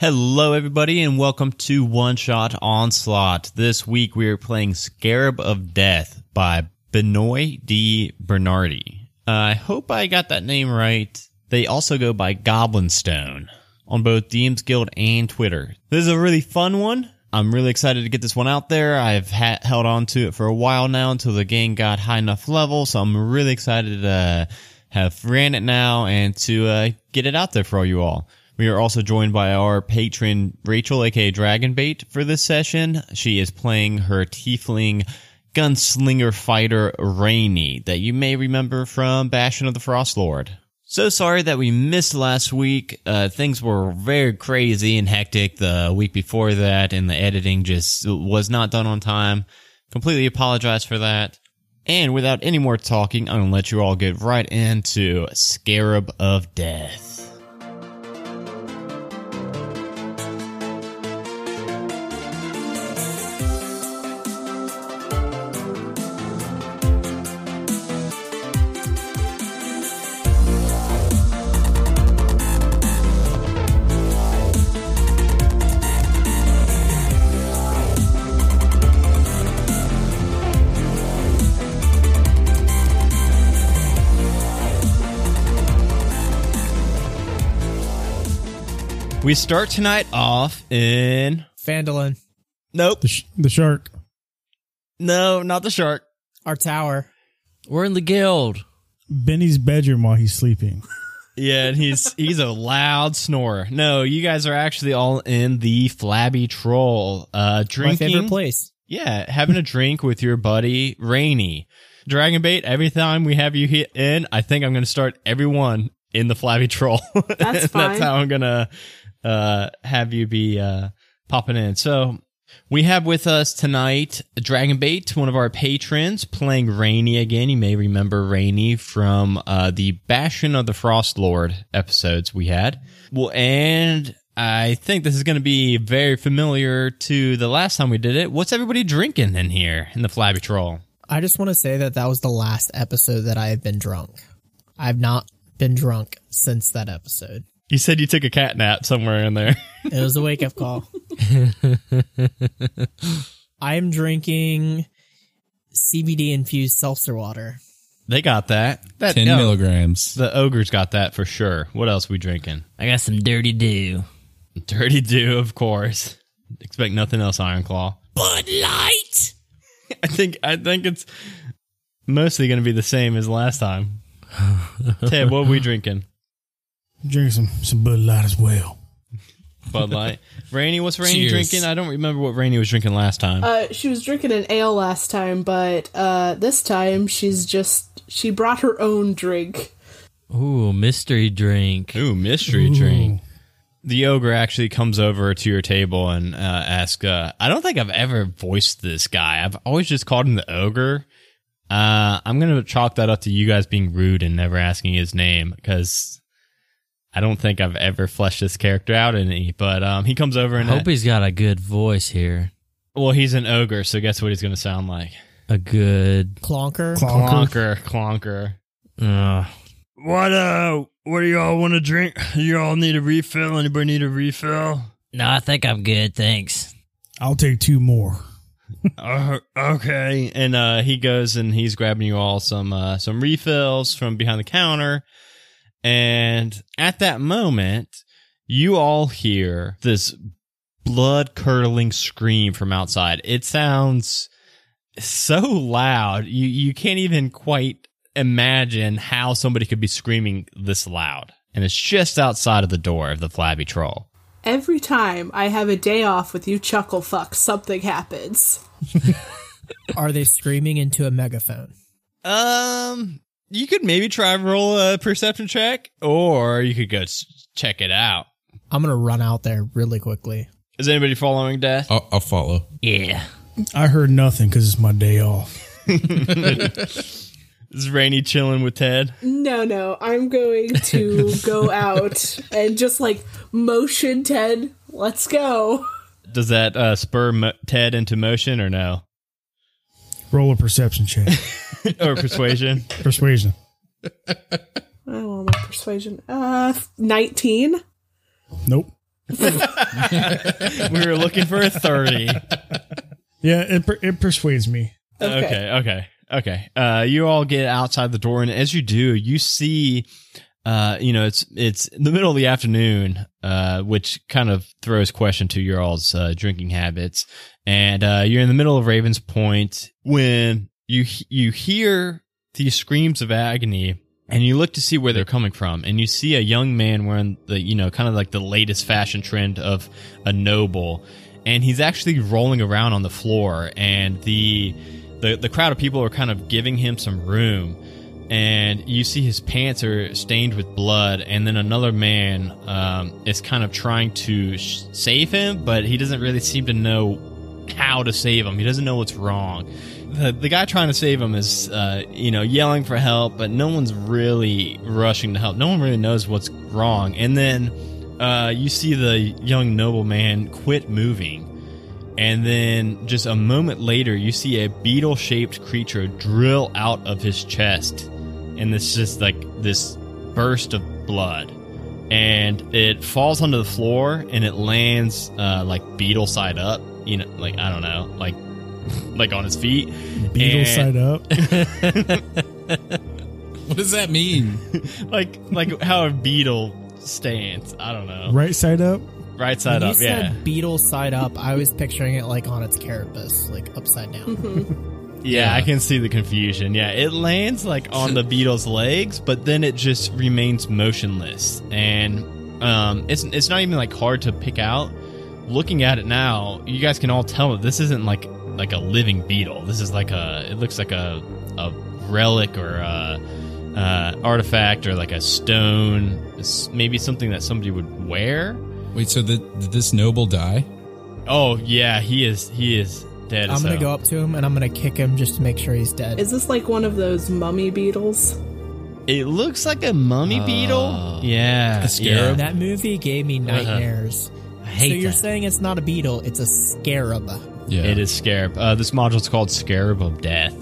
Hello, everybody, and welcome to One Shot Onslaught. This week we are playing Scarab of Death by Benoit D. Bernardi. Uh, I hope I got that name right. They also go by Goblin Stone on both DM's Guild and Twitter. This is a really fun one. I'm really excited to get this one out there. I've ha- held on to it for a while now until the game got high enough level, so I'm really excited to uh, have ran it now and to uh, get it out there for all you all. We are also joined by our patron Rachel, aka Dragonbait, for this session. She is playing her tiefling gunslinger fighter Rainy, that you may remember from Bastion of the Frostlord. So sorry that we missed last week. Uh, things were very crazy and hectic the week before that, and the editing just was not done on time. Completely apologize for that. And without any more talking, I'm gonna let you all get right into Scarab of Death. We start tonight off in. Fandolin, Nope. The, sh- the shark. No, not the shark. our tower. We're in the guild. Benny's bedroom while he's sleeping. Yeah, and he's he's a loud snorer. No, you guys are actually all in the flabby troll. Uh drinking My favorite place. Yeah, having a drink with your buddy Rainy. Dragon bait, every time we have you hit in, I think I'm gonna start everyone in the flabby troll. That's fine. how I'm gonna uh have you be uh popping in. So we have with us tonight Dragon Bait, one of our patrons, playing Rainy again. You may remember Rainy from uh, the Bastion of the Frost Lord episodes we had. Well, and I think this is going to be very familiar to the last time we did it. What's everybody drinking in here in the Flabby Troll? I just want to say that that was the last episode that I have been drunk. I've not been drunk since that episode. You said you took a cat nap somewhere in there. It was a wake up call. I am drinking CBD infused seltzer water. they got that. that 10 no, milligrams. The ogres got that for sure. What else we drinking? I got some dirty do. Dirty Do, of course. Expect nothing else, Iron Claw. Bud Light. I think I think it's mostly going to be the same as last time. Ted, what are we drinking? Drink some, some Bud Light as well. Bud Light. Rainy, what's Rainy Cheers. drinking? I don't remember what Rainy was drinking last time. Uh, she was drinking an ale last time, but uh, this time she's just she brought her own drink. Ooh, mystery drink. Ooh, mystery drink. The ogre actually comes over to your table and uh, asks. Uh, I don't think I've ever voiced this guy. I've always just called him the ogre. Uh, I'm gonna chalk that up to you guys being rude and never asking his name because I don't think I've ever fleshed this character out any. But um, he comes over I and hope he's got a good voice here. Well, he's an ogre, so guess what he's going to sound like? A good. Clonker. Clonker, clonker. Uh, What uh what do y'all want to drink? You all need a refill? Anybody need a refill? no, I think I'm good. Thanks. I'll take two more. Uh, okay. And uh, he goes and he's grabbing you all some uh, some refills from behind the counter. And at that moment, you all hear this blood curdling scream from outside. It sounds so loud. You you can't even quite imagine how somebody could be screaming this loud. And it's just outside of the door of the flabby troll. Every time I have a day off with you, chuckle fuck, something happens. Are they screaming into a megaphone? Um, you could maybe try and roll a perception check, or you could go s- check it out. I'm going to run out there really quickly. Is anybody following death? I'll, I'll follow. Yeah. I heard nothing because it's my day off. Is Rainy chilling with Ted? No, no, I'm going to go out and just like motion Ted, let's go. Does that uh, spur mo- Ted into motion or no? Roll a perception check. or persuasion? Persuasion. I want my persuasion. Uh, nineteen. Nope. we were looking for a 30. Yeah, it, per- it persuades me. Okay. Okay, okay, okay. Uh, you all get outside the door, and as you do, you see, uh, you know, it's it's the middle of the afternoon, uh, which kind of throws question to your all's uh, drinking habits, and uh, you're in the middle of Ravens Point when you he- you hear these screams of agony. And you look to see where they're coming from, and you see a young man wearing the, you know, kind of like the latest fashion trend of a noble, and he's actually rolling around on the floor, and the the the crowd of people are kind of giving him some room and you see his pants are stained with blood and then another man um, is kind of trying to sh- save him but he doesn't really seem to know how to save him he doesn't know what's wrong the, the guy trying to save him is uh, you know yelling for help but no one's really rushing to help no one really knows what's wrong and then uh, you see the young nobleman quit moving and then just a moment later, you see a beetle shaped creature drill out of his chest. And this just like this burst of blood. And it falls onto the floor and it lands uh, like beetle side up. You know, like, I don't know, like, like on his feet. Beetle And- side up. What does that mean? Like, like how a beetle stands. I don't know. Right side up. Right side When up, you yeah. said beetle side up, I was picturing it like on its carapace, like upside down. Yeah, Yeah. I can see the confusion. Yeah, it lands like on the beetle's legs, but then it just remains motionless, and um, it's it's not even like hard to pick out. Looking at it now, you guys can all tell that this isn't like like a living beetle. This is like a it looks like a a relic or a uh, artifact or like a stone, It's maybe something that somebody would wear. Wait, so the, did this noble die? Oh yeah, he is he is dead. I'm as gonna hell. go up to him and I'm gonna kick him just to make sure he's dead. Is this like one of those mummy beetles? It looks like a mummy beetle. Yeah, Oh. A scarab? Uh-huh. that movie gave me nightmares. I hate so you're that. saying it's not a beetle, it's a scarab. Yeah. It is Scarab. Uh, this module is called Scarab of Death.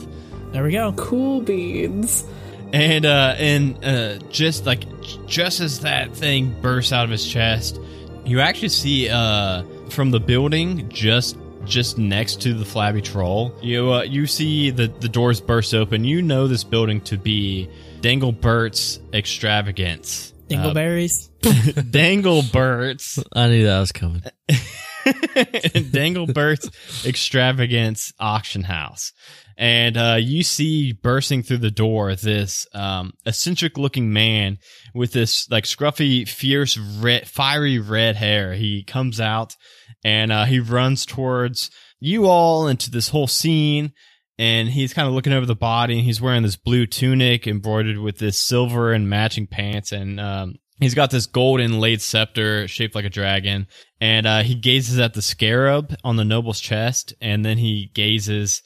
There we Uh, go. Cool beads. And uh, and uh, just like just as that thing bursts out of his chest, you actually see uh, from the building just just next to the flabby troll. You uh, you see the the doors burst open. You know this building to be Danglebert's extravagance. Dingleberries. Danglebert's I knew that was coming. Danglebert's extravagance auction house. And uh, you see bursting through the door this um, eccentric looking man with this like scruffy, fierce, red, fiery red hair. He comes out and uh, he runs towards you all into this whole scene. And he's kind of looking over the body and he's wearing this blue tunic embroidered with this silver and matching pants. And um, he's got this gold inlaid scepter shaped like a dragon and uh, he gazes at the scarab on the noble's chest, and then he gazes,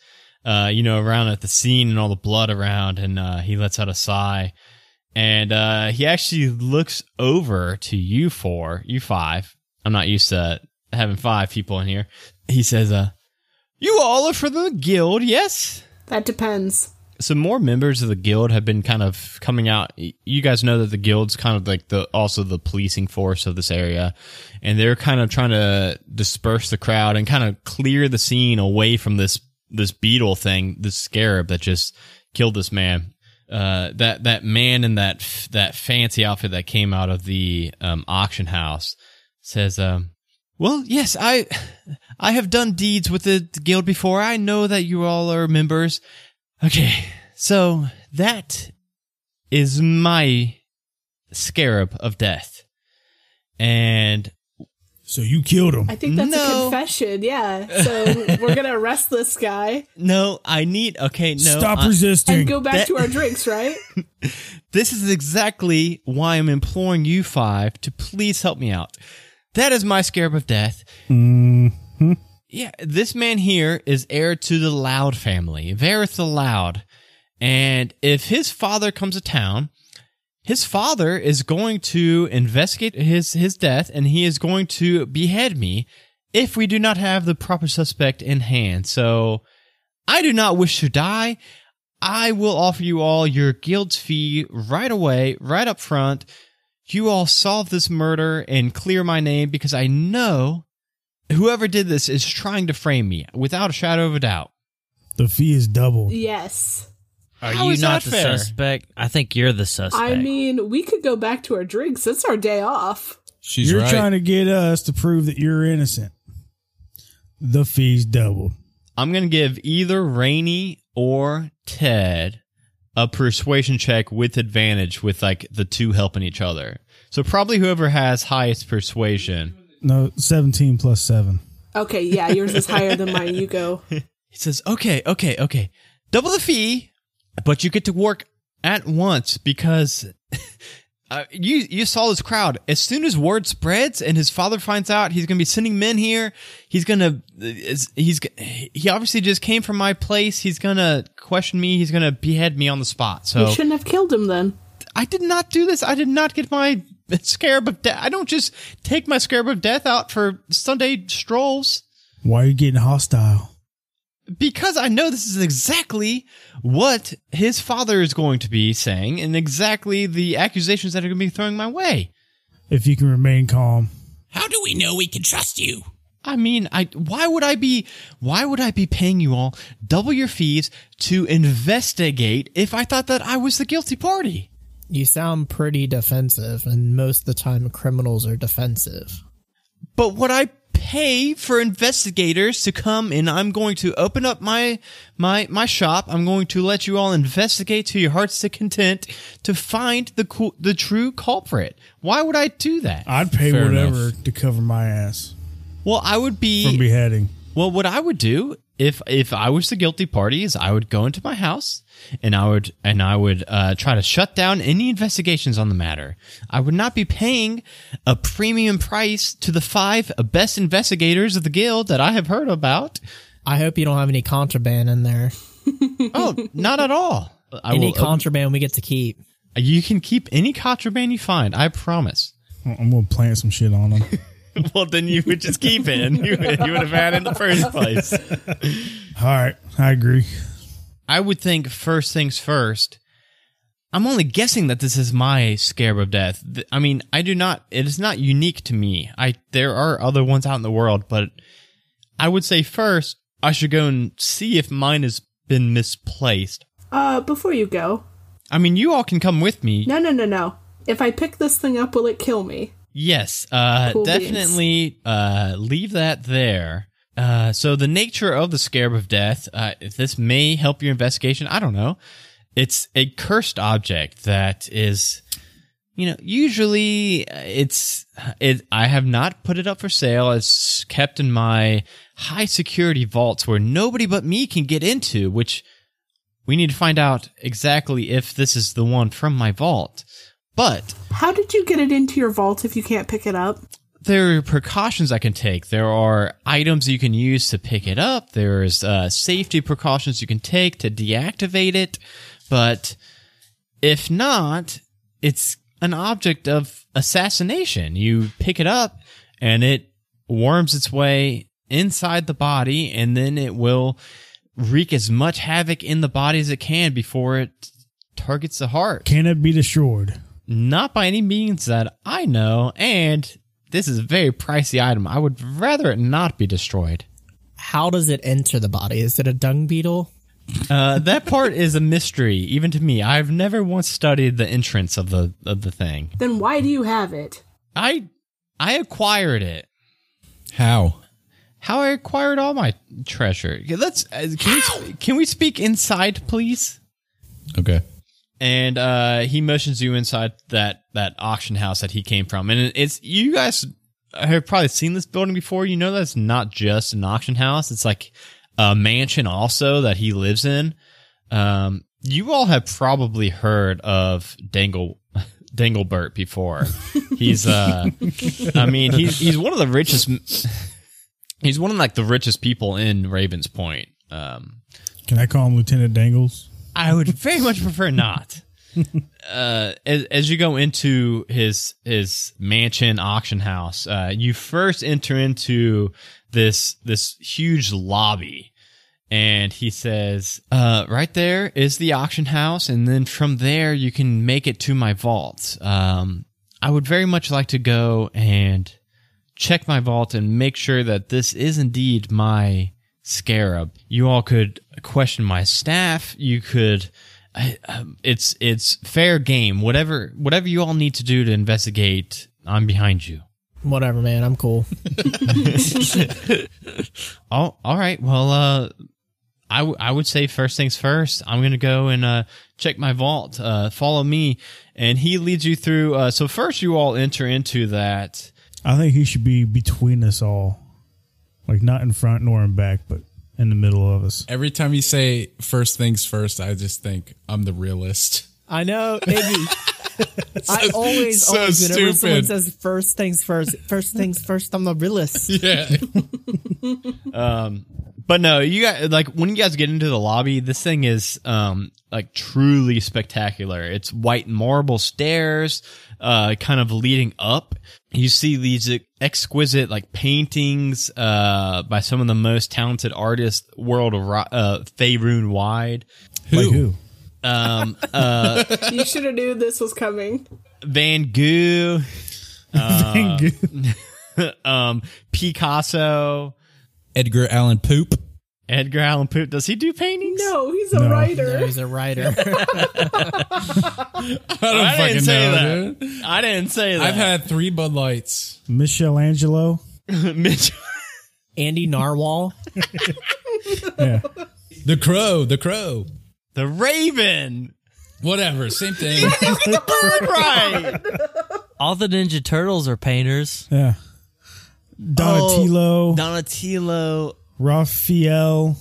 uh, you know, around at the scene and all the blood around, and uh, he lets out a sigh, and uh, he actually looks over to you four, you five. I'm not used to having five people in here. He says, "Uh, you all are for the guild, yes." That depends. some more members of the guild have been kind of coming out. You guys know that the guild's kind of like the also the policing force of this area, and they're kind of trying to disperse the crowd and kind of clear the scene away from this this beetle thing, this scarab that just killed this man. Uh, that that man in that f- that fancy outfit that came out of the um, auction house says, um, "Well, yes, I." I have done deeds with the guild before. I know that you all are members. Okay, so that is my scarab of death. And So you killed him. I think that's No. a confession. Yeah. So we're going to arrest this guy no, I need okay, no. Stop I- resisting. and go back That- to our drinks, right? this is exactly why I'm imploring you five to please help me out. That is my scarab of death. Yeah, this man here is heir to the Loud family, Vareth the Loud. And if his father comes to town, his father is going to investigate his, his death and he is going to behead me if we do not have the proper suspect in hand. So I do not wish to die. I will offer you all your guild's fee right away, right up front. You all solve this murder and clear my name because I know whoever did this is trying to frame me without a shadow of a doubt. The fee is doubled. Yes. Are How you is not that the fair? suspect? I think you're the suspect. I mean, we could go back to our drinks. It's our day off. She's you're right. trying to get us to prove that you're innocent. The fee's doubled. I'm going to give either Rainey or Ted a persuasion check with advantage with like the two helping each other. So probably whoever has highest persuasion. No, 17 plus 7. Okay, yeah, yours is higher than mine. You go. He says, "Okay, okay, okay. Double the fee, but you get to work at once because uh, you you saw this crowd. As soon as word spreads and his father finds out, he's going to be sending men here. He's going to he's g- he obviously just came from my place. He's going to question me. He's going to behead me on the spot. You So shouldn't have killed him then. I did not do this. I did not get my scarab of death. I don't just take my scarab of death out for Sunday strolls." Why are you getting hostile? because I know this is exactly what his father is going to be saying and exactly the accusations that are going to be throwing my way. If you can remain calm. How do we know we can trust you? I mean, I why would I be why would I be paying you all double your fees to investigate if I thought that I was the guilty party? You sound pretty defensive, and most of the time criminals are defensive. But what I pay for investigators to come and I'm going to open up my my my shop. I'm going to let you all investigate to your heart's content to find the cu- the true culprit. Why would I do that? I'd pay Fair whatever enough. to cover my ass Well, I would from be, beheading. well. What I would do if if I was the guilty party is I would go into my house and I would and I would uh, try to shut down any investigations on the matter. I would not be paying a premium price to the five best investigators of the guild that I have heard about. I hope you don't have any contraband in there. Oh, not at all. I Oh, Any will, um, contraband we get to keep. you can keep any contraband you find. I promise. I'm going to plant some shit on him. Well, then you would just keep it, and you, you would have had it in the first place. All right, I agree. I would think first things first. I'm only guessing that this is my scarab of death. Th- I mean, I do not. It is not unique to me. I there are other ones out in the world, but I would say first I should go and see if mine has been misplaced. Uh, before you go, I mean, you all can come with me. no, no, no, no. If I pick this thing up, will it kill me? Yes, uh, Cool beans. definitely uh, leave that there. Uh, so the nature of the scarab of death, uh, if this may help your investigation, I don't know. It's a cursed object that is, you know, usually uh, it's it. I have not put it up for sale. It's kept in my high security vaults where nobody but me can get into, which we need to find out exactly if this is the one from my vault. But How did you get it into your vault if you can't pick it up? there are precautions I can take. There are items you can use to pick it up. There's uh, safety precautions you can take to deactivate it. But if not, it's an object of assassination. You pick it up and it worms its way inside the body, and then it will wreak as much havoc in the body as it can before it targets the heart Can it be destroyed? not by any means that I know, and this is a very pricey item. I would rather it not be destroyed. How does it enter the body? Is it a dung beetle? Uh, that part is a mystery, even to me. I've never once studied the entrance of the of the thing. Then why do you have it? I I acquired it. How? How I acquired all my treasure? Yeah, Let's uh, can we, sp- can we speak inside, please? Okay. and uh, he motions you inside that that auction house that he came from. And it's you guys have probably seen this building before. You know that's not just an auction house; it's like a mansion also that he lives in. Um, you all have probably heard of Dangle Danglebert before. He's uh, I mean he's he's one of the richest. He's one of like the richest people in Ravens Point. Um, Can I call him Lieutenant Dangles? I would very much prefer not. Uh, as, as you go into his his mansion auction house, uh, you first enter into this this huge lobby, and he says, uh, "Right there is the auction house, and then from there you can make it to my vault." Um, I- I would very much like to go and check my vault and make sure that this is indeed my scarab. You all could question my staff. You could. I, um, it's it's fair game. Whatever whatever you all need to do to investigate, I'm behind you. Whatever, man. I'm cool. Oh, all right. Well, uh, I, w- I would say first things first. I'm gonna go and uh, check my vault. Uh, follow me, and he leads you through. Uh, so first, you all enter into that. I think he should be between us all, like not in front nor in back, but in the middle of us. Every time you say first things first, I just think I'm the realist. I know, Iggy. I always, so always, whenever someone stupid. says first things first, first things first, I'm a realist. Yeah. But no, you guys like when you guys get into the lobby, this thing is um like truly spectacular. It's white marble stairs, uh, kind of leading up. You see these exquisite like paintings, uh, by some of the most talented artists world ar- uh, Faerun wide. Um, uh, Who? Like who? You should have knew this was coming. Van Gogh, Van Gogh. um, Picasso, Edgar Allan Poop. Edgar Allan Poe. Does he do paintings? No, he's a writer. He's a writer. I don't I fucking didn't say know, that. dude. I didn't say that. I've had three Bud Lights. Michelangelo. Mitch. Andy Narwhal. Yeah. The Crow. The Crow. The Raven. Whatever. Same thing. Right. All the Ninja Turtles are painters. Yeah. Oh, Donatello, Donatello. Raphael,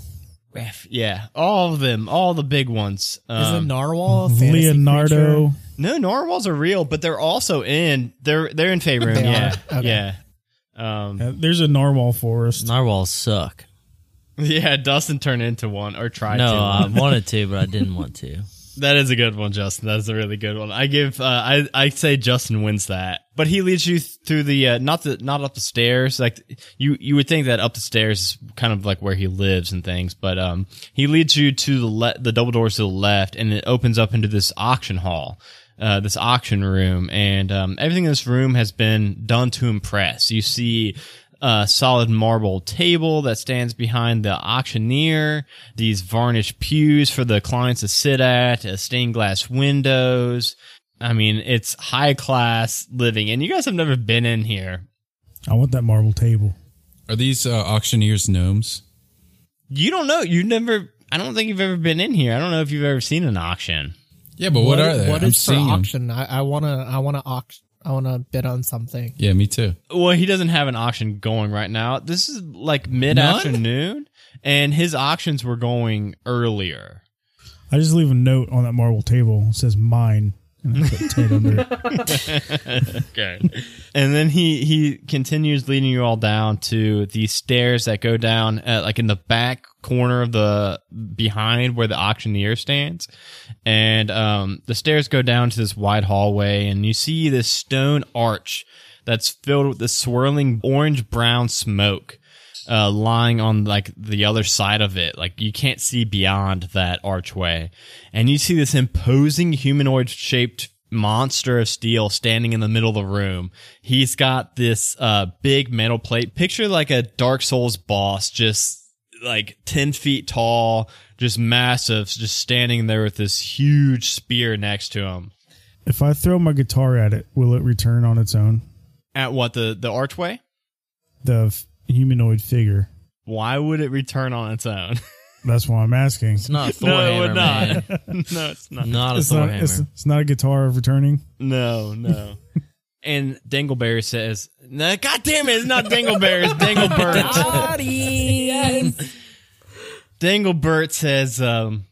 Raph- Yeah, all of them, all the big ones. Is Um, a narwhal a fantasy creature? Leonardo. no, narwhals are real, but they're also in. They're they're in favor. They yeah, are? Okay. yeah, um, Uh, There's a narwhal forest. Narwhals suck. yeah. Dustin turned into one or tried No, to. um, I wanted to, but I didn't want to. That is a good one, Justin. That is a really good one. I give, uh, I, I say Justin wins that, but he leads you through the, uh, not the, not up the stairs. Like you, you would think that up the stairs is kind of like where he lives and things, but, um, he leads you to the le- the double doors to the left and it opens up into this auction hall, uh, this auction room. And, um, everything in this room has been done to impress. You see, a solid marble table that stands behind the auctioneer, these varnished pews for the clients to sit at, uh, stained glass windows. I mean, it's high class living, and you guys have never been in here. I want that marble table. Are these uh, auctioneers gnomes? You don't know. You've never. I don't think you've ever been in here. I don't know if you've ever seen an auction. Yeah, but what, are they? What I'm is for seeing 'em. auction? I, I wanna, I wanna auction. I wanna bid on something. Yeah, me too. Well, he doesn't have an auction going right now. This is like mid afternoon, and his auctions were going earlier. I just leave a note on that marble table. It says mine. And I put Ted under it. Okay. and then he he continues leading you all down to the stairs that go down uh like in the back corner of the behind where the auctioneer stands and um the stairs go down to this wide hallway and you see this stone arch that's filled with this swirling orange brown smoke uh, lying on like the other side of it. Like you can't see beyond that archway. And you see this imposing humanoid shaped monster of steel standing in the middle of the room. He's got this uh, big metal plate. Picture like a Dark Souls boss, just like 10 feet tall, just massive, just standing there with this huge spear next to him. If I throw my guitar at it, will it return on its own? At what? The, the archway? The f- humanoid figure. Why would it return on its own? That's why I'm asking. It's not a Thor it hammer, would not. man. no, it's not. Not a It's Thor not, hammer. it's, it's not a guitar of returning. No, no. and Dingleberry says, "No, God damn it, it's not Dingleberry, it's Dinglebert." Yes. Dinglebert says, um,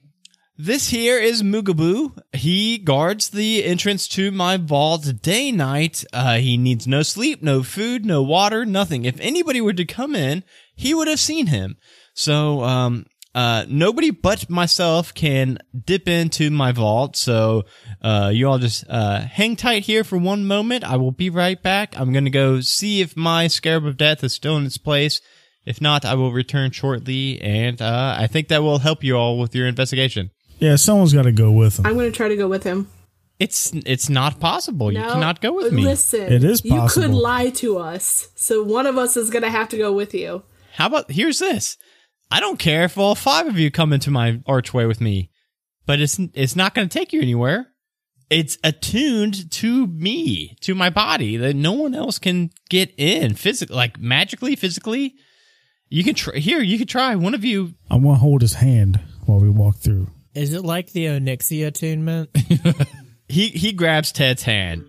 "This here is Mugaboo. He guards the entrance to my vault day night. Uh, he needs no sleep, no food, no water, nothing. If anybody were to come in, he would have seen him. So, um." Uh, nobody but myself can dip into my vault, so uh, you all just uh, hang tight here for one moment. I will be right back. I'm gonna go see if my scarab of death is still in its place, if not, I will return shortly, and uh, I think that will help you all with your investigation. Yeah, someone's got to go with him. I'm going to try to go with him. It's it's not possible. you No, cannot go with me. Listen, It is You could possible. lie to us, so one of us is gonna have to go with you. How about here's this? I don't care if all five of you come into my archway with me, but it's it's not going to take you anywhere. It's attuned to me, to my body that no one else can get in physically, like magically, physically. You can try here. You can try one of you. I want to hold his hand while we walk through. Is it like the Onyxia attunement? He he grabs Ted's hand.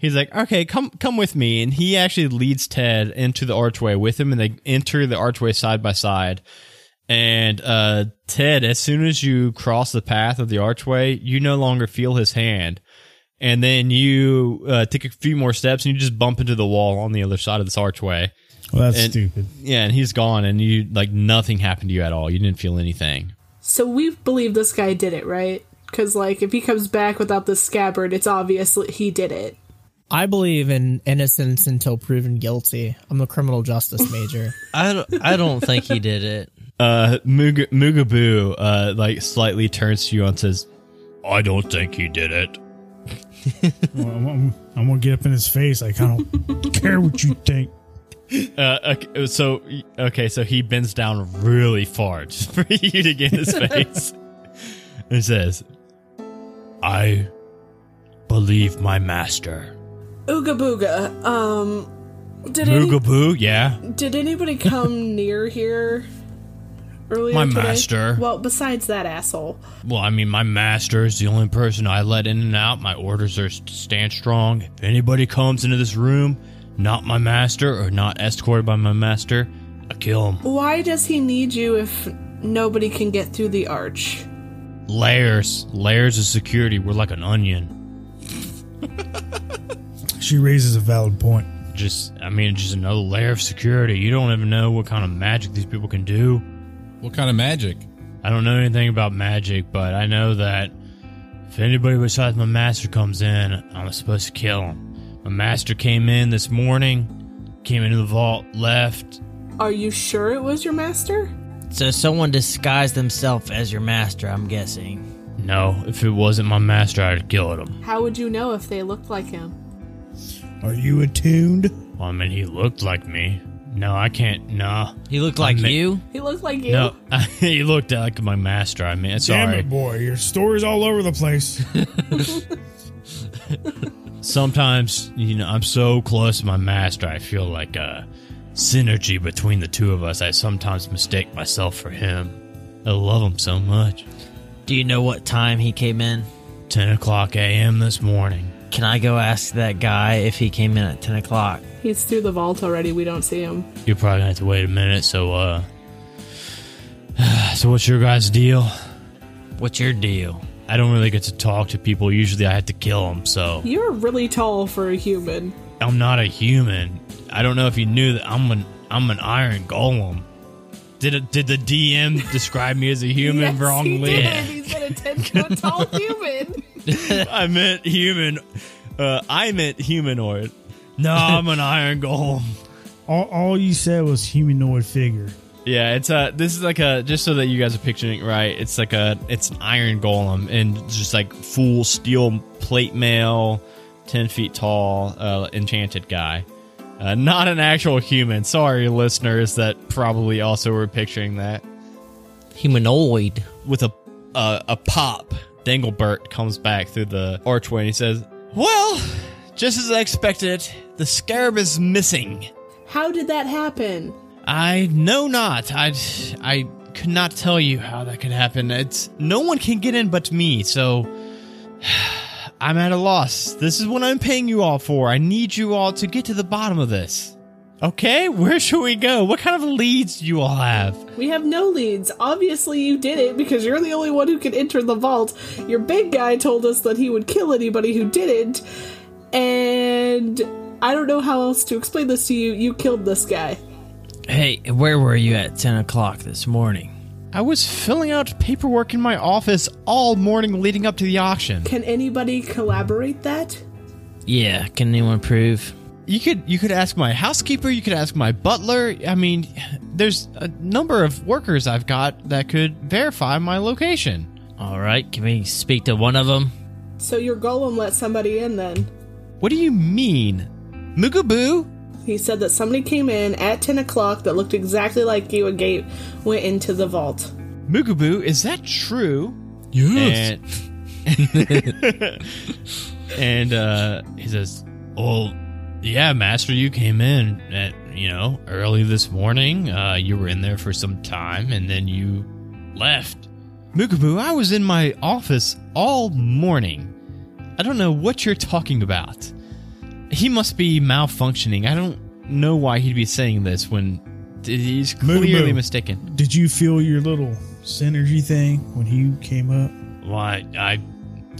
He's like, okay, come come with me, and he actually leads Ted into the archway with him, and they enter the archway side by side. And uh, Ted, as soon as you cross the path of the archway, you no longer feel his hand. And then you uh, take a few more steps and you just bump into the wall on the other side of this archway. Well, that's And- stupid. Yeah, and he's gone, and you like nothing happened to you at all. You didn't feel anything. So we believe this guy did it, right? Because like, if he comes back without the scabbard, it's obvious he did it. I believe in innocence until proven guilty. I'm a criminal justice major. I don't, I don't think he did it. Uh, Mug- Mugabu uh, like slightly turns to you and says, I don't think he did it. Well, I'm, I'm- I'm gonna get up in his face like I don't care what you think. Uh, okay, so okay, so he bends down really far just for you to get in his face, and says, I believe my master. Ooga booga. Um, did any, "Moogaboo, yeah, did anybody come near here earlier? My today? master. Well, besides that asshole. Well, I mean, my master is the only person I let in and out. My orders are to stand strong. If anybody comes into this room, not my master or not escorted by my master, I kill him. Why does he need you if nobody can get through the arch? Layers, layers of security. We're like an onion. She raises a valid point. Just, I mean, just another layer of security. You don't even know what kind of magic these people can do. What kind of magic? I don't know anything about magic, but I know that if anybody besides my master comes in, I'm supposed to kill him. My master came in this morning, came into the vault, left, Are you sure it was your master? So someone disguised themselves as your master, I'm guessing. No, if it wasn't my master, I'd killed him. How would you know if they looked like him? Are you attuned? Well, I mean, he looked like me. No, I can't. Nah. He looked like ma- you. He looked like you. No, he looked like my master. I mean, Damn sorry. it, boy! Your story's all over the place. Sometimes, you know, I'm so close to my master, I feel like a synergy between the two of us. I sometimes mistake myself for him. I love him so much. Do you know what time he came in? 10 o'clock a.m. this morning. Can I go ask that guy if he came in at 10 o'clock? He's through the vault already. We don't see him. You're probably gonna have to wait a minute, so, uh. So, what's your guys' deal? What's your deal? I don't really get to talk to people. Usually I have to kill them, so. You're really tall for a human. I'm not a human. I don't know if you knew that I'm an I'm an iron golem. Did it, did the DM describe me as a human Yes, he wrongly? did. He's been a ten foot tall human. I meant human. Uh, I meant humanoid. No, I'm an iron golem. all, all you said was humanoid figure. Yeah, it's a. This is like a. Just so that you guys are picturing it right, it's like a. It's an iron golem and just like full steel plate mail, ten feet tall, uh, enchanted guy. Uh, not an actual human. Sorry, listeners, that probably also were picturing that Humanoid. with a uh, a pop, Danglebert comes back through the archway and he says, "Well, just as I expected, the scarab is missing. How did that happen? I know not. I I could not tell you how that could happen. It's no one can get in but me, so." I'm at a loss. This is what I'm paying you all for. I need you all to get to the bottom of this. Okay, where should we go? What kind of leads do you all have? We have no leads. Obviously, you did it because you're the only one who can enter the vault. Your big guy told us that he would kill anybody who didn't, and I don't know how else to explain this to you. You killed this guy. Hey, where were you at 10 o'clock this morning? I was filling out paperwork in my office all morning leading up to the auction. Can anybody collaborate that? Yeah, can anyone prove? You could you could ask my housekeeper, you could ask my butler. I mean, there's a number of workers I've got that could verify my location. All right, can we speak to one of them? So your golem let somebody in then. What do you mean? Mugaboo? He said that somebody came in at 10 o'clock that looked exactly like you and Gate went into the vault. Mugaboo, is that true? Yes. And, and uh, he says, "Well, yeah, Master, you came in at you know early this morning. Uh, you were in there for some time, and then you left." Mugaboo, I was in my office all morning. I don't know what you're talking about. He must be malfunctioning. I don't know why he'd be saying this when he's clearly Mugaboo. mistaken. Did you feel your little synergy thing when he came up? Well, I, I,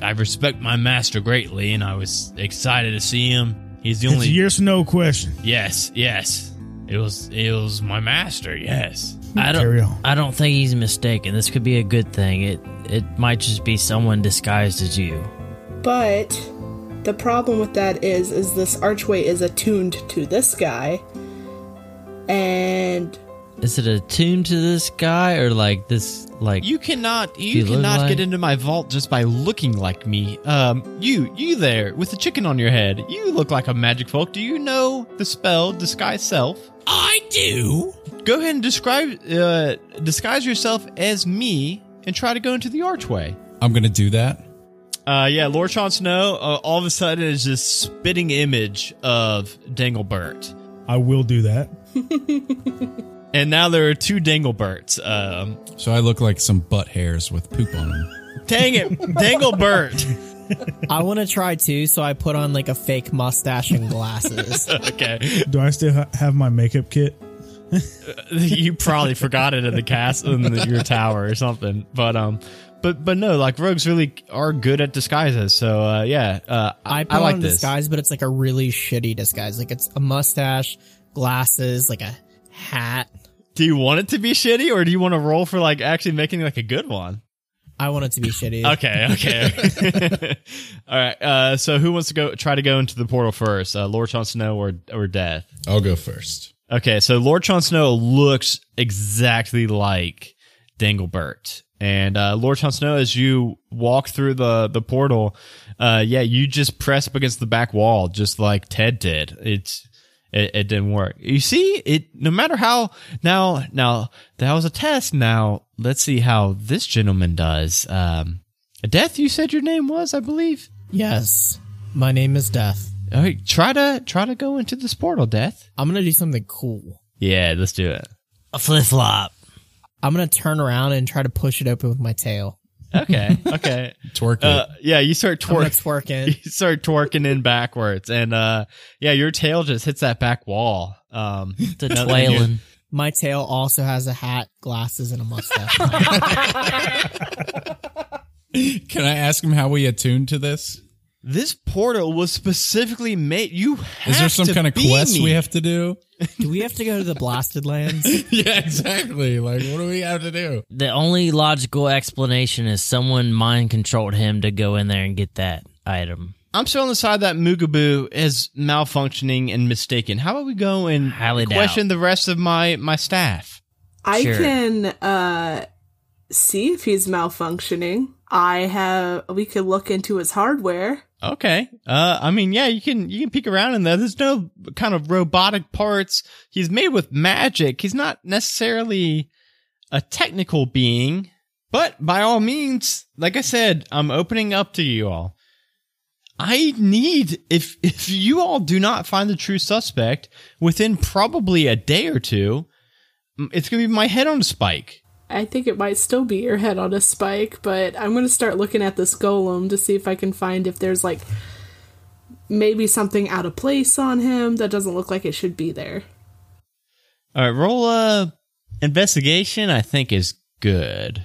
I respect my master greatly, and I was excited to see him. He's the It's only a yes or no question. yes, yes. It was it was my master. Yes, I Carry don't. on. I don't think he's mistaken. This could be a good thing. It it might just be someone disguised as you. But the problem with that is is this archway is attuned to this guy. And Is it attuned to this guy or like this? Like you cannot you, You look cannot like- get into my vault just by looking like me. Um, you you there with the chicken on your head. You look like a magic folk. Do you know the spell disguise self? I do. Go ahead and describe uh, disguise yourself as me and try to go into the archway. I'm gonna do that. Uh, yeah, Lord Sean Snow uh, all of a sudden is just spitting image of Danglebert. I will do that. And now there are two Dangleberts. Um, So I look like some butt hairs with poop on them. dang it, Danglebert. I want to try too, so I put on like a fake mustache and glasses. Okay, Do I still ha- have my makeup kit? you probably forgot it in the castle in the, your tower or something. But um, but but no, like rogues really are good at disguises. So uh, yeah, uh, I, I I, put like on this. disguise, but it's like a really shitty disguise. Like it's a mustache, glasses, like a hat. Do you want it to be shitty, or do you want to roll for like actually making like a good one? I want it to be shitty. Okay, okay. All right. Uh, so who wants to go try to go into the portal first? Uh, Lord Chon Snow or or Death? I'll go first. Okay, so Lord Chon Snow looks exactly like Danglebert. And uh, Lord Chon Snow, as you walk through the, the portal, uh, yeah, you just press up against the back wall, just like Ted did. It's it, it didn't work. You see, it no matter how now now that was a test. Now let's see how this gentleman does. Um, Death, you said your name was, I believe. Yes. My name is Death. All right, try to try to go into this portal, Death. I'm gonna do something cool. Yeah, let's do it. a flip flop. I'm gonna turn around and try to push it open with my tail. Okay, okay. Twerk it. Uh, yeah, you start I'm gonna twerking. twerk it. You start twerking in backwards, and uh, yeah, your tail just hits that back wall. Um, It's a twailing. My tail also has a hat, glasses, and a mustache. Can I ask him how we attuned to this? this portal was specifically made. You have Is there some to kind of be quest me. we have to do? do we have to go to the blasted lands? yeah, exactly. Like, what do we have to do? The only logical explanation is someone mind controlled him to go in there and get that item. I'm still on the side that Mugaboo is malfunctioning and mistaken. How about we go and Highly doubt. question the rest of my my staff? I Sure. can uh see if he's malfunctioning. I have we could look into his hardware. Okay. Uh, I mean, yeah, you can you can peek around in there. There's no kind of robotic parts. He's made with magic. He's not necessarily a technical being, but by all means, like I said, I'm opening up to you all. I need if if you all do not find the true suspect within probably a day or two, m- it's gonna be my head on a spike. I think it might still be your head on a spike, but I'm going to start looking at this golem to see if I can find if there's like maybe something out of place on him that doesn't look like it should be there. All right, roll uh investigation. I think is good.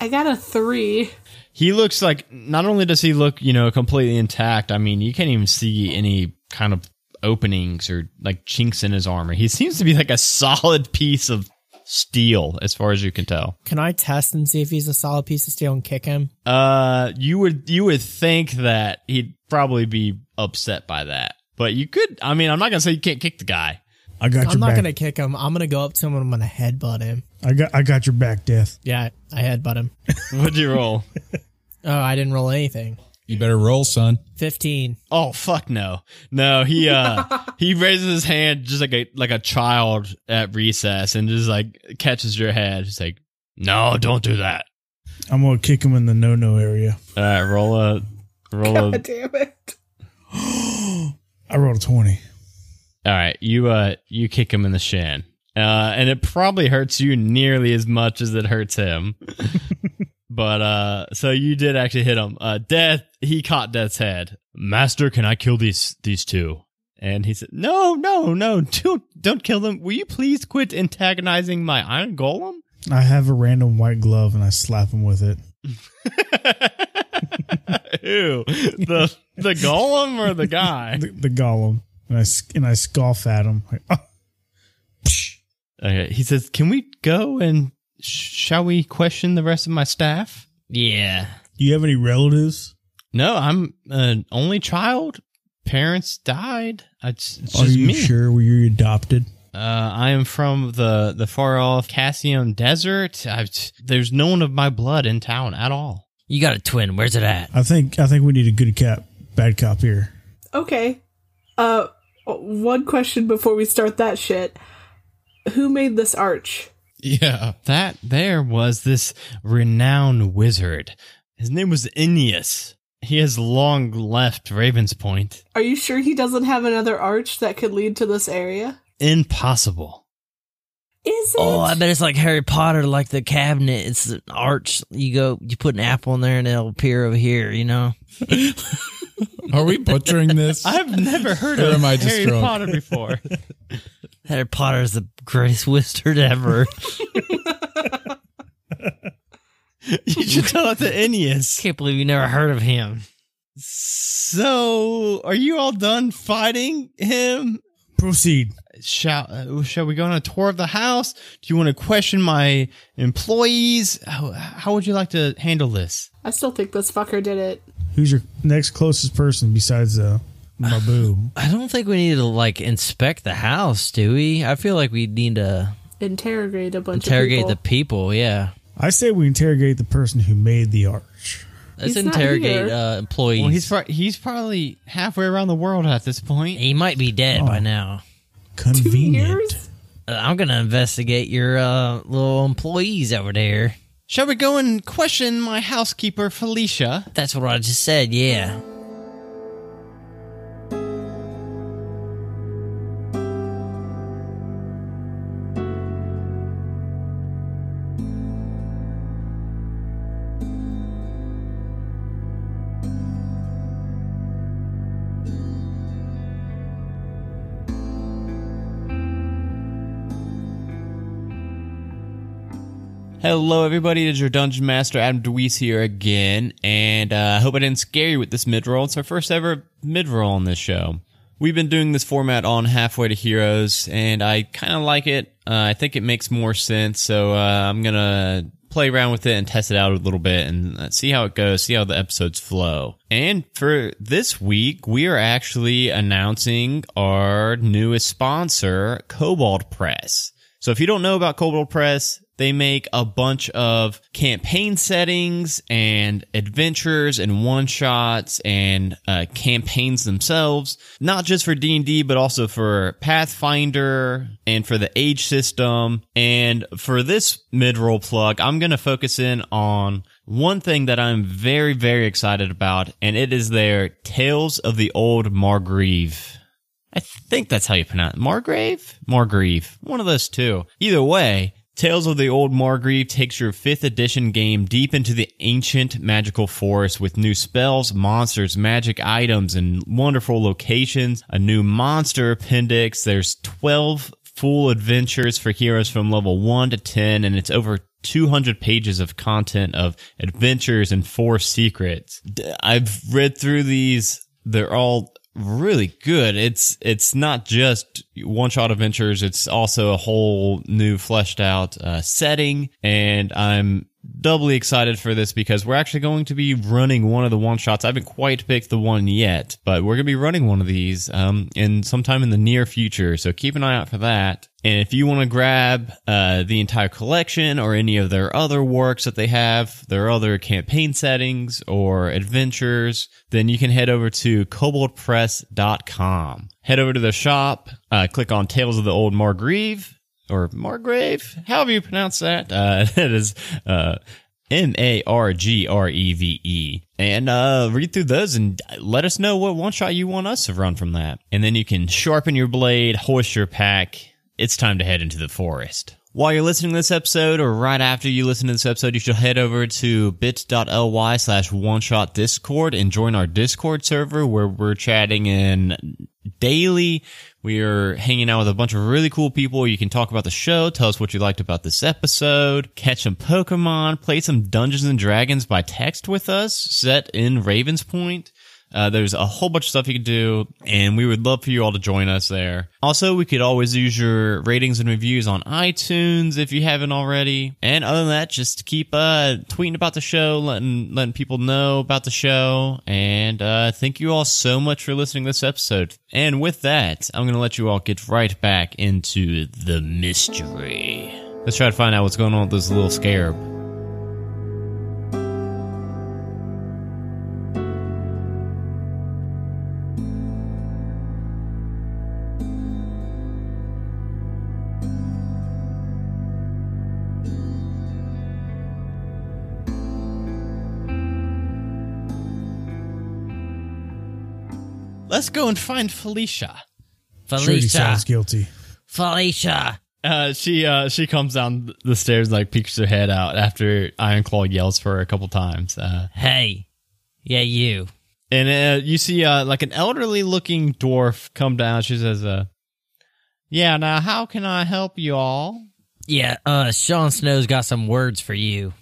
I got a three. he looks like not only does he look you know completely intact i mean you can't even see any kind of openings or like chinks in his armor he seems to be like a solid piece of steel as far as you can tell Can I test and see if he's a solid piece of steel and kick him? uh you would you would think that he'd probably be upset by that but you could i mean i'm not gonna say you can't kick the guy I got your I'm not back. gonna kick him. I'm gonna go up to him and I'm gonna headbutt him. I got I got your back, Death. Yeah, I headbutt him. what'd you roll Oh, I didn't roll anything. You better roll, son. 15. Oh fuck no. No, he uh he raises his hand just like a like a child at recess and just like catches your head. Just like, no, don't do that. I'm gonna kick him in the no no area. All right, roll a roll a God damn it. I rolled a twenty. All right, you uh you kick him in the shin. Uh and it probably hurts you nearly as much as it hurts him. but uh so you did actually hit him. Uh Death, he caught Death's head. Master, can I kill these these two? And he said, "No, no, no. Don't don't kill them. Will you please quit antagonizing my iron golem?" I have a random white glove and I slap him with it. Who? The the golem or the guy? The, the golem and I s- and I scoff at him. Like, "Ah, Okay, he says, "Can we go and sh- shall we question the rest of my staff?" Yeah. Do you have any relatives? No, I'm an only child. Parents died. It's, it's Are just you me. sure were you adopted? Uh, I am from the the far off Cassium Desert. I've, there's no one of my blood in town at all. You got a twin. Where's it at? I think I think we need a good cop, bad cop here. Okay. Uh, one question before we start that shit. Who made this arch? Yeah. That there was this renowned wizard. His name was Ineas. He has long left Raven's Point. Are you sure he doesn't have another arch that could lead to this area? impossible. Is it? Oh, I bet it's like Harry Potter, like the cabinet. It's an arch. You go, you put an apple in there, and it'll appear over here. You know. Are we butchering this? I've never heard Or of am I just Harry drunk? Potter before. Harry Potter is the greatest wizard ever. you should tell it to Ineas. Can't believe you never heard of him. So, are you all done fighting him? Proceed. Shall uh, Shall we go on a tour of the house? Do you want to question my employees? How, how would you like to handle this? I still think this fucker did it. Who's your next closest person besides uh, my boo? I don't think we need to like inspect the house, do we? I feel like we need to Interrogate a bunch interrogate of the people. people. Yeah, I say we interrogate the person who made the arch. let's He's not interrogate here. uh, employees. Well, he's pro- he's probably halfway around the world at this point. he might be Oh. dead by now. Two Convenient. years? Uh, I'm gonna investigate your uh, little employees over there. Shall we go and question my housekeeper Felicia? That's what I just said. Yeah. Hello, everybody. It is your Dungeon Master, Adam Deweese, here again. And uh, I hope I didn't scare you with this mid roll. It's our first ever mid roll on this show. We've been doing this format on Halfway to Heroes, and I kind of like it. Uh, I think it makes more sense. So uh, I'm going to play around with it and test it out a little bit and uh, see how it goes, see how the episodes flow. And for this week, we are actually announcing our newest sponsor, Cobalt Press. So if you don't know about Cobalt Press, they make a bunch of campaign settings and adventures and one shots and uh, campaigns themselves, not just for D and D, but also for Pathfinder and for the Age system. And for this mid roll plug, I'm going to focus in on one thing that I'm very very excited about, and it is their Tales of the Old Margrave. I think that's how you pronounce it. Margrave? Margrave. One of those two. Either way, Tales of the Old Margrave takes your 5th edition game deep into the ancient magical forest with new spells, monsters, magic items, and wonderful locations, a new monster appendix. There's 12 full adventures for heroes from level 1 to 10, and it's over 200 pages of content of adventures and four secrets. D- I've read through these. They're all really good. It's it's not just one shot adventures. It's also a whole new fleshed out uh, setting, and I'm doubly excited for this because we're actually going to be running one of the one shots. I haven't quite picked the one yet, but we're going to be running one of these um, in sometime in the near future. So keep an eye out for that. And if you want to grab uh, the entire collection or any of their other works that they have, their other campaign settings or adventures, then you can head over to koboldpress.com. Head over to their shop, uh, click on Tales of the Old Margrave, or Margrave, however you pronounce that. Uh, that is uh, M A R G R E V E. And uh, read through those and let us know what one shot you want us to run from that. And then you can sharpen your blade, hoist your pack. It's time to head into the forest. While you're listening to this episode, or right after you listen to this episode, you should head over to bit.ly slash one shot discord and join our Discord server where we're chatting in daily. We are hanging out with a bunch of really cool people. You can talk about the show, tell us what you liked about this episode, catch some Pokemon, play some Dungeons and Dragons by text with us, set in Ravens Point. Uh, there's a whole bunch of stuff you can do, and we would love for you all to join us there. Also, we could always use your ratings and reviews on iTunes if you haven't already. And other than that, just keep uh, tweeting about the show, letting letting people know about the show. And uh, thank you all so much for listening to this episode. And with that, I'm gonna let you all get right back into the mystery. Let's try to find out what's going on with this little scarab. Let's go and find Felicia. Trudy Felicia. sounds guilty. Felicia. Uh, she uh, she comes down the stairs and, like peeks her head out after Ironclaw yells for her a couple times. Uh, Hey. Yeah, you. and uh, you see uh, like an elderly looking dwarf come down. She says, uh, "Yeah, now how can I help you all?" Yeah, uh, Sean Snow's got some words for you.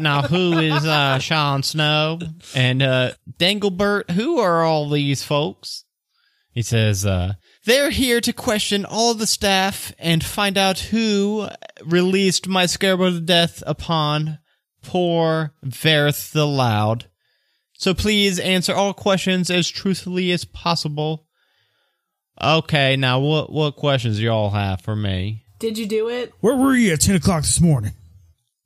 Now who is uh, Sean Snow and uh, Danglebert? Who are all these folks? He says, uh, "They're here to question all the staff and find out who released my scarecrow to death upon poor Verith the Loud." So please answer all questions as truthfully as possible. Okay, now what what questions y'all have for me? Did you do it? Where were you at ten o'clock this morning?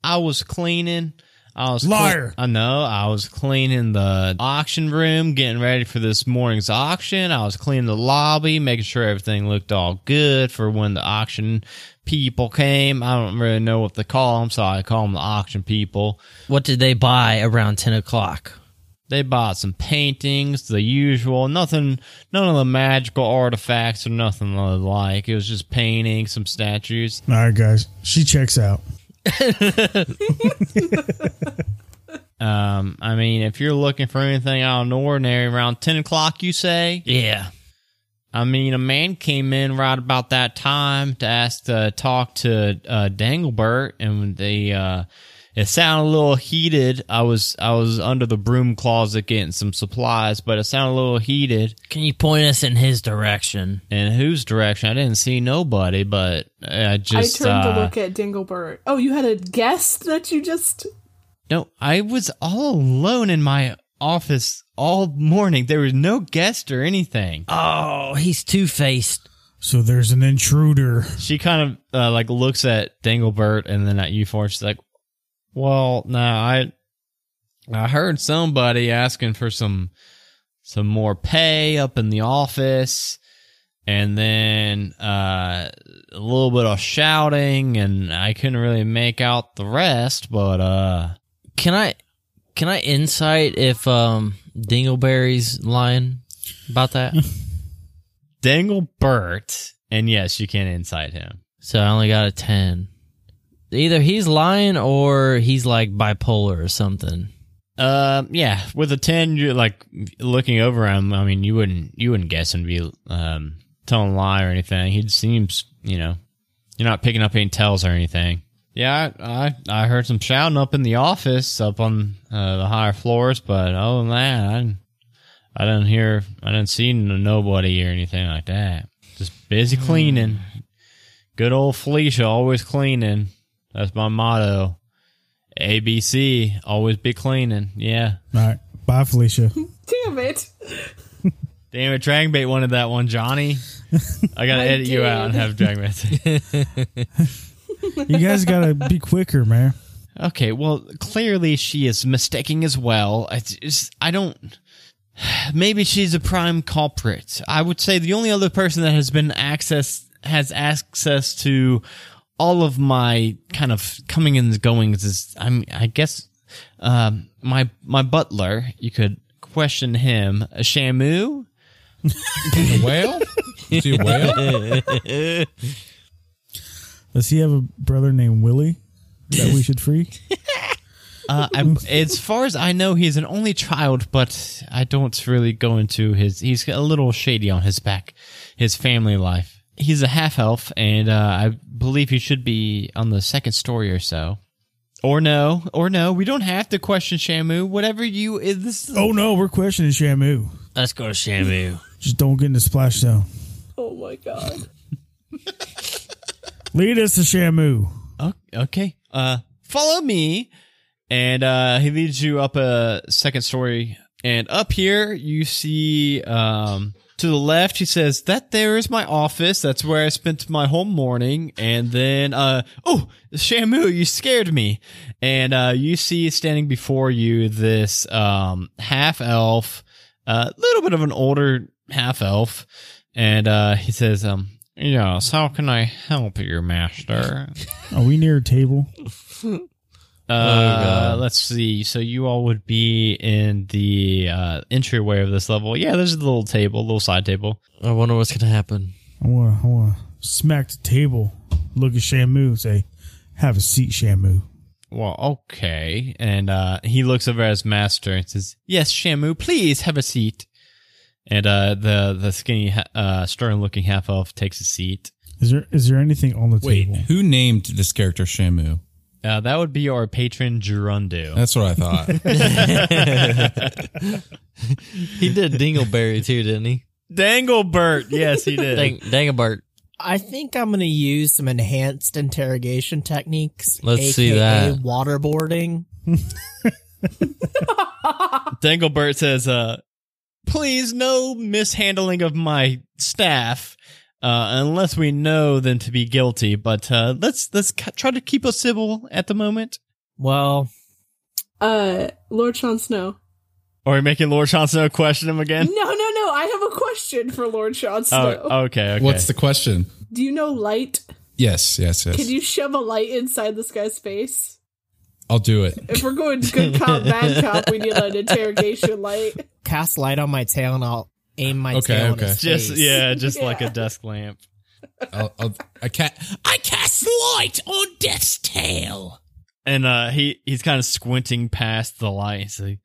I was cleaning. I was Liar. I know. I was cleaning the auction room, getting ready for this morning's auction. I was cleaning the lobby, making sure everything looked all good for when the auction people came. I don't really know what to call them, so I call them the auction people. What did they buy around 10 o'clock? They bought some paintings, the usual, nothing, none of the magical artifacts or nothing of the like. It was just paintings, some statues. All right, guys. She checks out. Um, I mean, if you're looking for anything out of the ordinary around 10 o'clock, you say? Yeah. I mean, a man came in right about that time to ask to talk to uh, Danglebert, and they uh, it sounded a little heated. I was I was under the broom closet getting some supplies, but it sounded a little heated. Can you point us in his direction? In whose direction? I didn't see nobody, but I just I turned uh, to look at Dinglebert. Oh, you had a guess that you just. no. I was all alone in my office all morning. There was no guest or anything. Oh, he's two faced. So there's an intruder. she kind of uh, like looks at Danglebert and then at you four. She's like, "Well, no, I, I heard somebody asking for some, some more pay up in the office, and then uh, a little bit of shouting, and I couldn't really make out the rest. But uh, Can I can I insight if um Dingleberry's lying about that? Danglebert, and yes, you can inside him. so I only got a ten. Either he's lying or he's like bipolar or something. Uh, yeah, with a ten, you're like looking over him. I mean, you wouldn't you wouldn't guess him to be um telling a lie or anything. He seems, you know, you're not picking up any tells or anything. Yeah, I I, I heard some shouting up in the office, up on uh, the higher floors, but other than that, I didn't- I didn't hear, I didn't see n- nobody or anything like that. Just busy cleaning, Good old Felicia, always cleaning. That's my motto. ABC, always be cleaning. Yeah. All right. Bye, Felicia. Damn it. Damn it, Dragonbait wanted that one, Johnny. I gotta I edit you out and did. have Dragonbait. You guys got to be quicker, man. okay, well, clearly she is mistaking as well. It's just, I don't. Maybe she's a prime culprit. I would say the only other person that has been access has access to all of my kind of coming and goings is I'm I guess um, my my butler. You could question him, Shamu. Whale? Is he a whale? Does he have a brother named Willie that we should free? Uh, I, as far as I know, he's an only child, but I don't really go into his. He's a little shady on his back, his family life. He's a half elf, and uh, I believe he should be on the second story or so. Or no, or no, we don't have to question Shamu. Whatever you is, this is- Oh, no. We're questioning Shamu. Let's go to Shamu. Just don't get in the splash zone. Oh my god. Lead us to Shamu. Oh, okay. Uh, follow me, and uh, he leads you up a second story. And up here, you see um, to the left. He says that there is my office. That's where I spent my whole morning. And then, uh, oh, Shamu, you scared me. And uh, you see standing before you this um, half elf, a little bit of an older half elf, and uh, he says, um, "Yes, how can I help you, master?" Are we near a table? Uh, let's see. So you all would be in the uh, entryway of this level. Yeah, there's a little table, little side table. I wonder what's gonna happen. I want to I wanna smack the table, look at Shamu, and say, Have a seat, Shamu. Well, okay. And uh, he looks over at his master and says, "Yes, Shamu, please have a seat." And uh, the the skinny, ha- uh, stern-looking half elf takes a seat. Is there is there anything on the Wait, table? who named this character Shamu? Uh, that would be our patron Gerundo. That's what I thought. He did Dingleberry too, didn't he? Danglebert. Yes, he did. Dang, Danglebert. I think I'm gonna use some enhanced interrogation techniques. Let's see aka that. waterboarding. Danglebert says, uh, please no mishandling of my staff. Uh, unless we know them to be guilty, but uh, let's let's ca- try to keep us civil at the moment. Well, Uh, Lord Sean Snow. Are we making Lord Johnson question him No, again? no, no. I have a question for Lord Sean Snow. Oh, okay, okay. What's the question? Do you know light? Yes, yes, yes. Can you shove a light inside this guy's face? I'll do it. If we're going good cop, bad cop, we need an interrogation light. cast light on my tail and I'll aim my Okay, tail. okay. At his just face. yeah, just Yeah. like a desk lamp. I'll, I'll, I ca- I cast light on Death's tail. and uh, he he's kind of squinting past the light. He's like,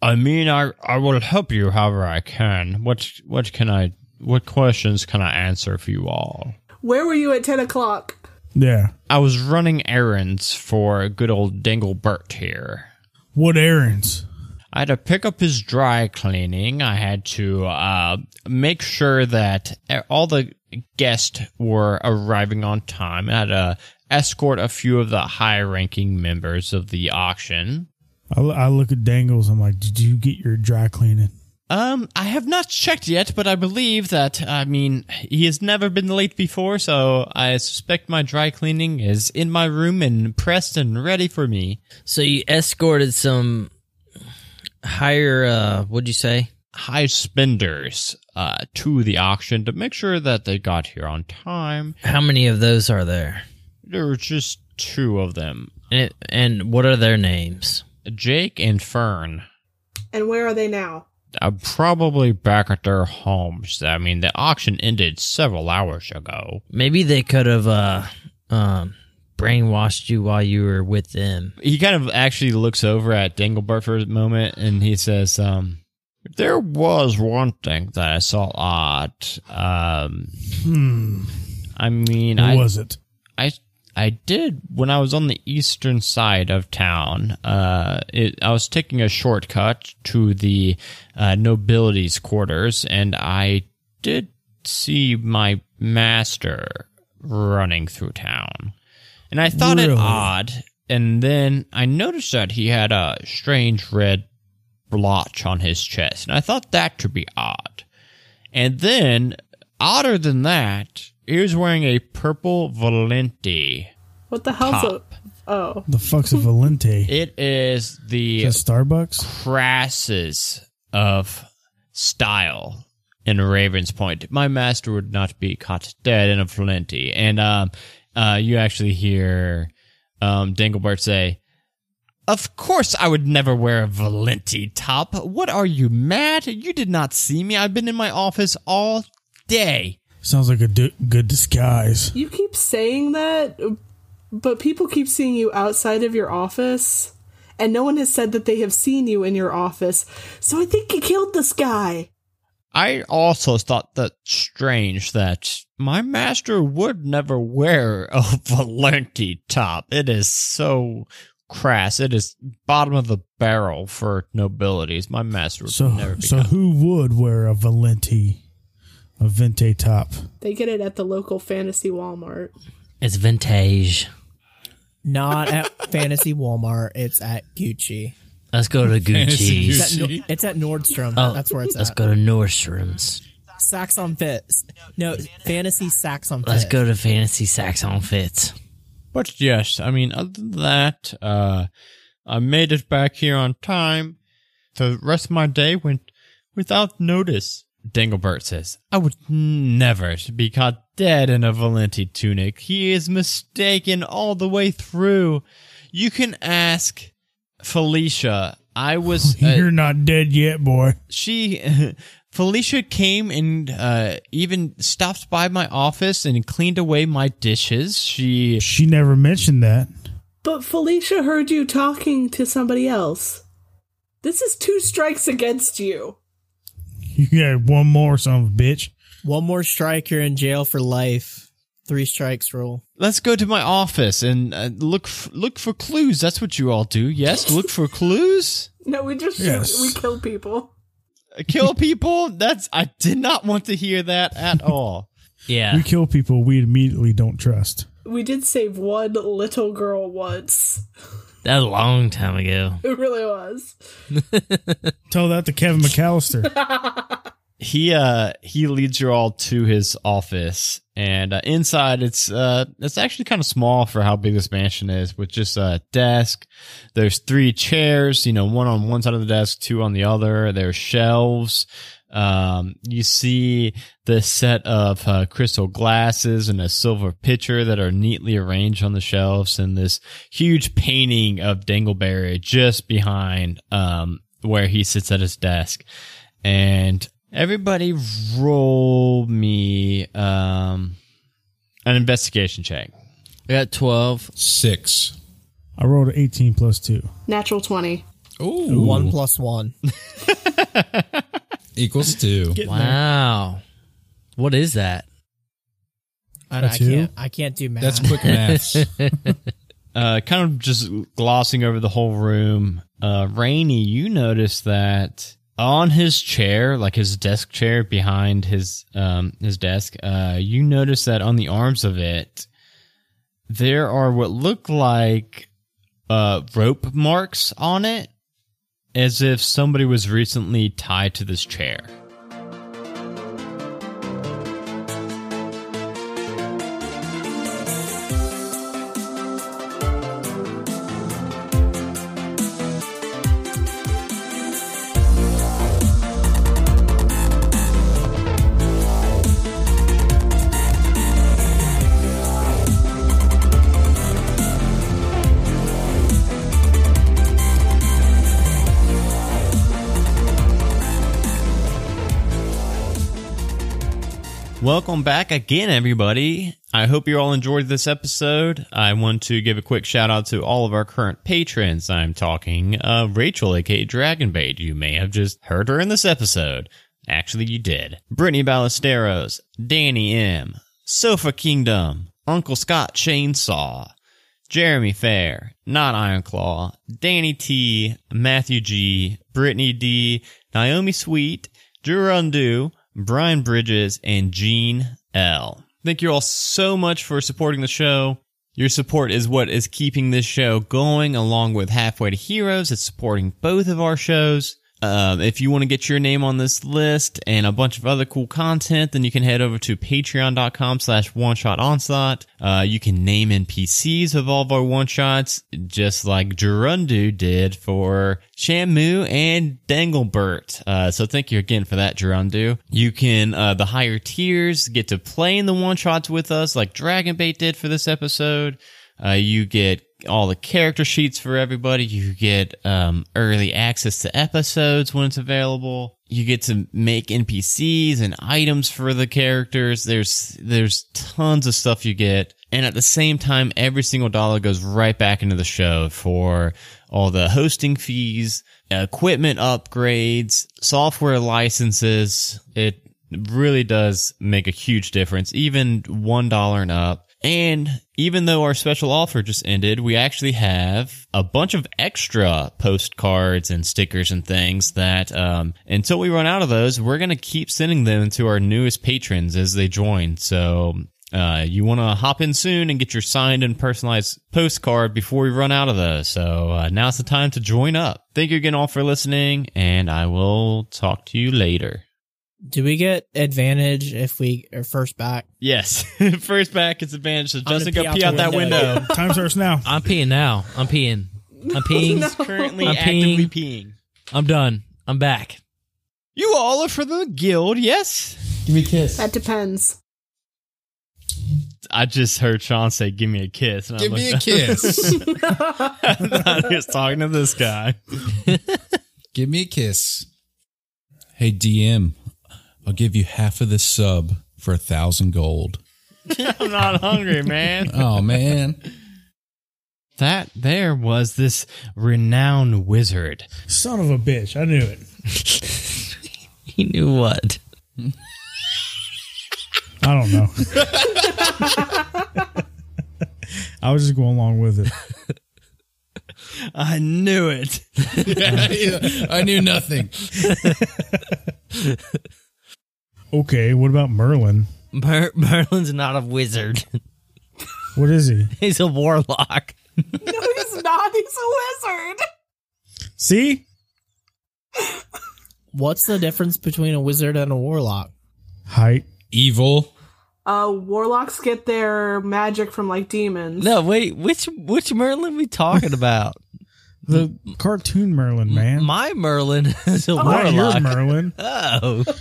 "I mean, I I will help you however I can. What what can I? What questions can I answer for you all? Where were you at 10 o'clock? Yeah. I was running errands for good old Dinglebert here. What errands? I had to pick up his dry cleaning. I had to uh, make sure that e, all the guests were arriving on time. I had to escort a few of the high-ranking members of the auction." I, lo- I look at Dangles. I'm like, did you get your dry cleaning? Um, I have not checked yet, but I believe that, I mean, he has never been late before, so I suspect my dry cleaning is in my room and pressed and ready for me. So you escorted some higher. uh What'd you say? High spenders, uh, to the auction to make sure that they got here on time. How many of those are there? There were just two of them, And, and what are their names? Jake and Fern. And where are they now? I'm probably back at their homes. I mean, the auction ended several hours ago. Maybe they could have uh, um, brainwashed you while you were with them. he kind of actually looks over at Dinglebert for a moment and he says, um, there was one thing that I saw odd. Um, Hmm. I mean, What I, was it? I, I did when I was on the eastern side of town. Uh, it, I was taking a shortcut to the uh, nobility's quarters, and I did see my master running through town. And I thought it odd, and then I noticed that he had a strange red blotch on his chest, and I thought that to be odd. And then, odder than that, he was wearing a purple Valenti. What the hell's Top. a oh? The fuck's a Valente? It is the Is that Starbucks? crasses of style in Raven's Point. My master would not be caught dead in a plenty. And um, uh, you actually hear um, Dinglebart say, of course, I would never wear a Valenti top. What are you mad? You did not see me. I've been in my office all day. Sounds like a d- good disguise. You keep saying that, but people keep seeing you outside of your office, and no one has said that they have seen you in your office. So I think you killed this guy. I also thought that strange that my master would never wear a Valenti top. It is so crass. It is bottom of the barrel for nobilities. My master would So, never be. so who would wear a Valente, a Vente top? They get it at the local fantasy Walmart. It's vintage. Not at Fantasy Walmart. It's at Gucci. Let's go to Fantasy Gucci's. It's at, Nor- it's at Nordstrom. Oh, That's where it's Let's at. go to Nordstrom's. Saks on Fits. No, Fantasy Saks on Fits. Let's go to Fantasy Saxon Fits. But yes, I mean, other than that, uh, I made it back here on time. The rest of my day went without notice. Danglebert says, I would never be caught dead in a Valenti tunic. He is mistaken all the way through. You can ask Felicia. I was. uh, You're not dead yet, boy. she Felicia came and uh, even stopped by my office and cleaned away my dishes. She She never mentioned that. But Felicia heard you talking to somebody else. This is two strikes against you. You got one more, son of a bitch. One more strike, you're in jail for life. Three strikes rule. let's go to my office and uh, look f- look for clues. That's what you all do. Yes, look for clues. No, we just shoot. Yes. We kill people. Kill people. That's I did not want to hear that at all. Yeah. We kill people we immediately don't trust. We did save one little girl once. That was a long time ago. It really was. Tell that to Kevin McAllister. He uh he leads you all to his office and uh, inside it's uh it's actually kind of small for how big this mansion is with just a desk. There's three chairs, you know, one on one side of the desk, two on the other. There's shelves. Um, you see the set of uh, crystal glasses and a silver pitcher that are neatly arranged on the shelves, and this huge painting of Dangleberry just behind um, where he sits at his desk. And everybody, roll me um, an investigation check. We got 12. Six. I rolled an 18 plus 2. Natural 20. Ooh. One plus one. Equals two. Wow. What is that? And I That's you? can't. I can't do math. That's quick maths. uh, kind of just glossing over the whole room. Uh, Rainey, you notice that on his chair, like his desk chair behind his um, his desk, uh, you notice that on the arms of it, there are what look like uh, rope marks on it, as if somebody was recently tied to this chair. Welcome back again, everybody. I hope you all enjoyed this episode. I want to give a quick shout out to all of our current patrons. I'm talking uh, Rachel, aka Dragonbait. You may have just heard her in this episode. Actually, you did. Brittany Ballesteros, Danny M, Sofa Kingdom, Uncle Scott Chainsaw, Jeremy Fair, Not Ironclaw, Danny T, Matthew G, Brittany D, Naomi Sweet, Drew Rundu, Brian Bridges, and Gene L. Thank you all so much for supporting the show. Your support is what is keeping this show going, along with Halfway to Heroes. It's supporting both of our shows. Um, if you want to get your name on this list and a bunch of other cool content, then you can head over to patreon.com slash one shot onslaught. Uh, you can name NPCs of all of our one shots, just like Gerundu did for Shamu and Danglebert. Uh, so thank you again for that, Gerundu. You can, uh, the higher tiers get to play in the one shots with us, like Dragonbait did for this episode. Uh, you get all the character sheets for everybody. You get um, early access to episodes when it's available. You get to make NPCs and items for the characters. There's there's tons of stuff you get, and at the same time, every single dollar goes right back into the show for all the hosting fees, equipment upgrades, software licenses. It really does make a huge difference, even one dollar and up. And even though our special offer just ended, we actually have a bunch of extra postcards and stickers and things that, um, until we run out of those, we're going to keep sending them to our newest patrons as they join. So, uh, you want to hop in soon and get your signed and personalized postcard before we run out of those. So, uh, now's the time to join up. Thank you again all for listening, and I will talk to you later. Do we get advantage if we are first back? Yes. First back, it's advantage. So gonna Justin, go pee pee out, that window. Time starts now. I'm peeing now. I'm peeing. I'm peeing. Currently I'm actively peeing. peeing. I'm done. I'm back. You all are for the guild, yes? Give me a kiss. That depends. I just heard Sean say, "Give me a kiss." And Give I me looked a kiss. up. I was talking to this guy. give me a kiss. Hey DM, I'll give you half of this sub for a thousand gold. I'm not hungry, man. Oh man. Uh, That there was this renowned wizard. Son of a bitch. I knew it. He knew what. I don't know. I was just going along with it. I knew it. I knew nothing. Okay, what about Merlin? Mer- Merlin's not a wizard. What is he? He's a warlock. No, he's not. He's a wizard. See? What's the difference between a wizard and a warlock? Height. Evil. Uh, warlocks get their magic from like demons. No, wait. Which which Merlin we talking about? The cartoon Merlin, man. My Merlin is a Not your warlock. Merlin. Oh.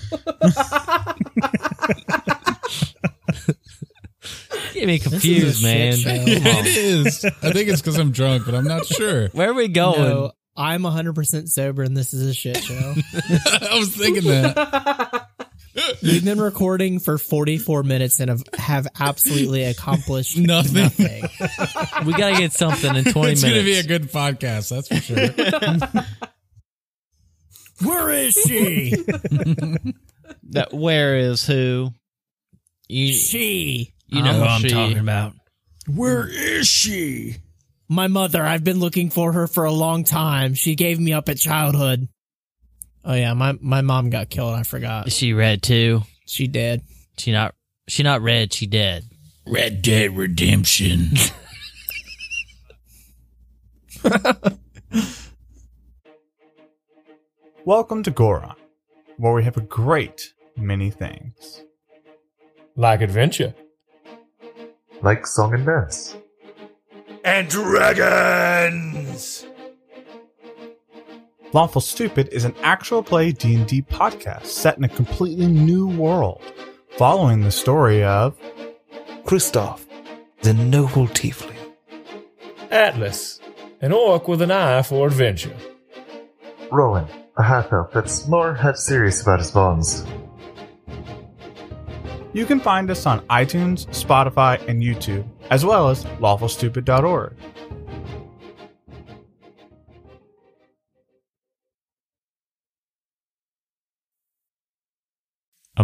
Get me is a confused, man. shit show. Come on. It is. I think it's because I'm drunk, but I'm not sure. Where are we going? No, I'm 100% sober and this is a shit show. I was thinking that. We've been recording for 44 minutes and have, have absolutely accomplished Nothing. nothing. We gotta get something in 20 It's going to minutes. be a good podcast, that's for sure. Where is she? That where is who? you, she, you know Oh, who she- I'm talking about. Where is she? my mother, I've been looking for her for a long time. She gave me up at childhood. Oh yeah, my, my mom got killed. I Is forgot. she red too? She did. She not she not red, she dead. Red Dead Redemption. Welcome to Goron, where we have a great many things. like adventure. like song and dance. And dragons! Lawful Stupid is an actual play D&D podcast set in a completely new world, following the story of Kristoff, the noble tiefling. Atlas, an orc with an eye for adventure. Rowan, a half elf that's more half serious about his bonds. You can find us on iTunes, Spotify, and YouTube, as well as lawfulstupid.org. A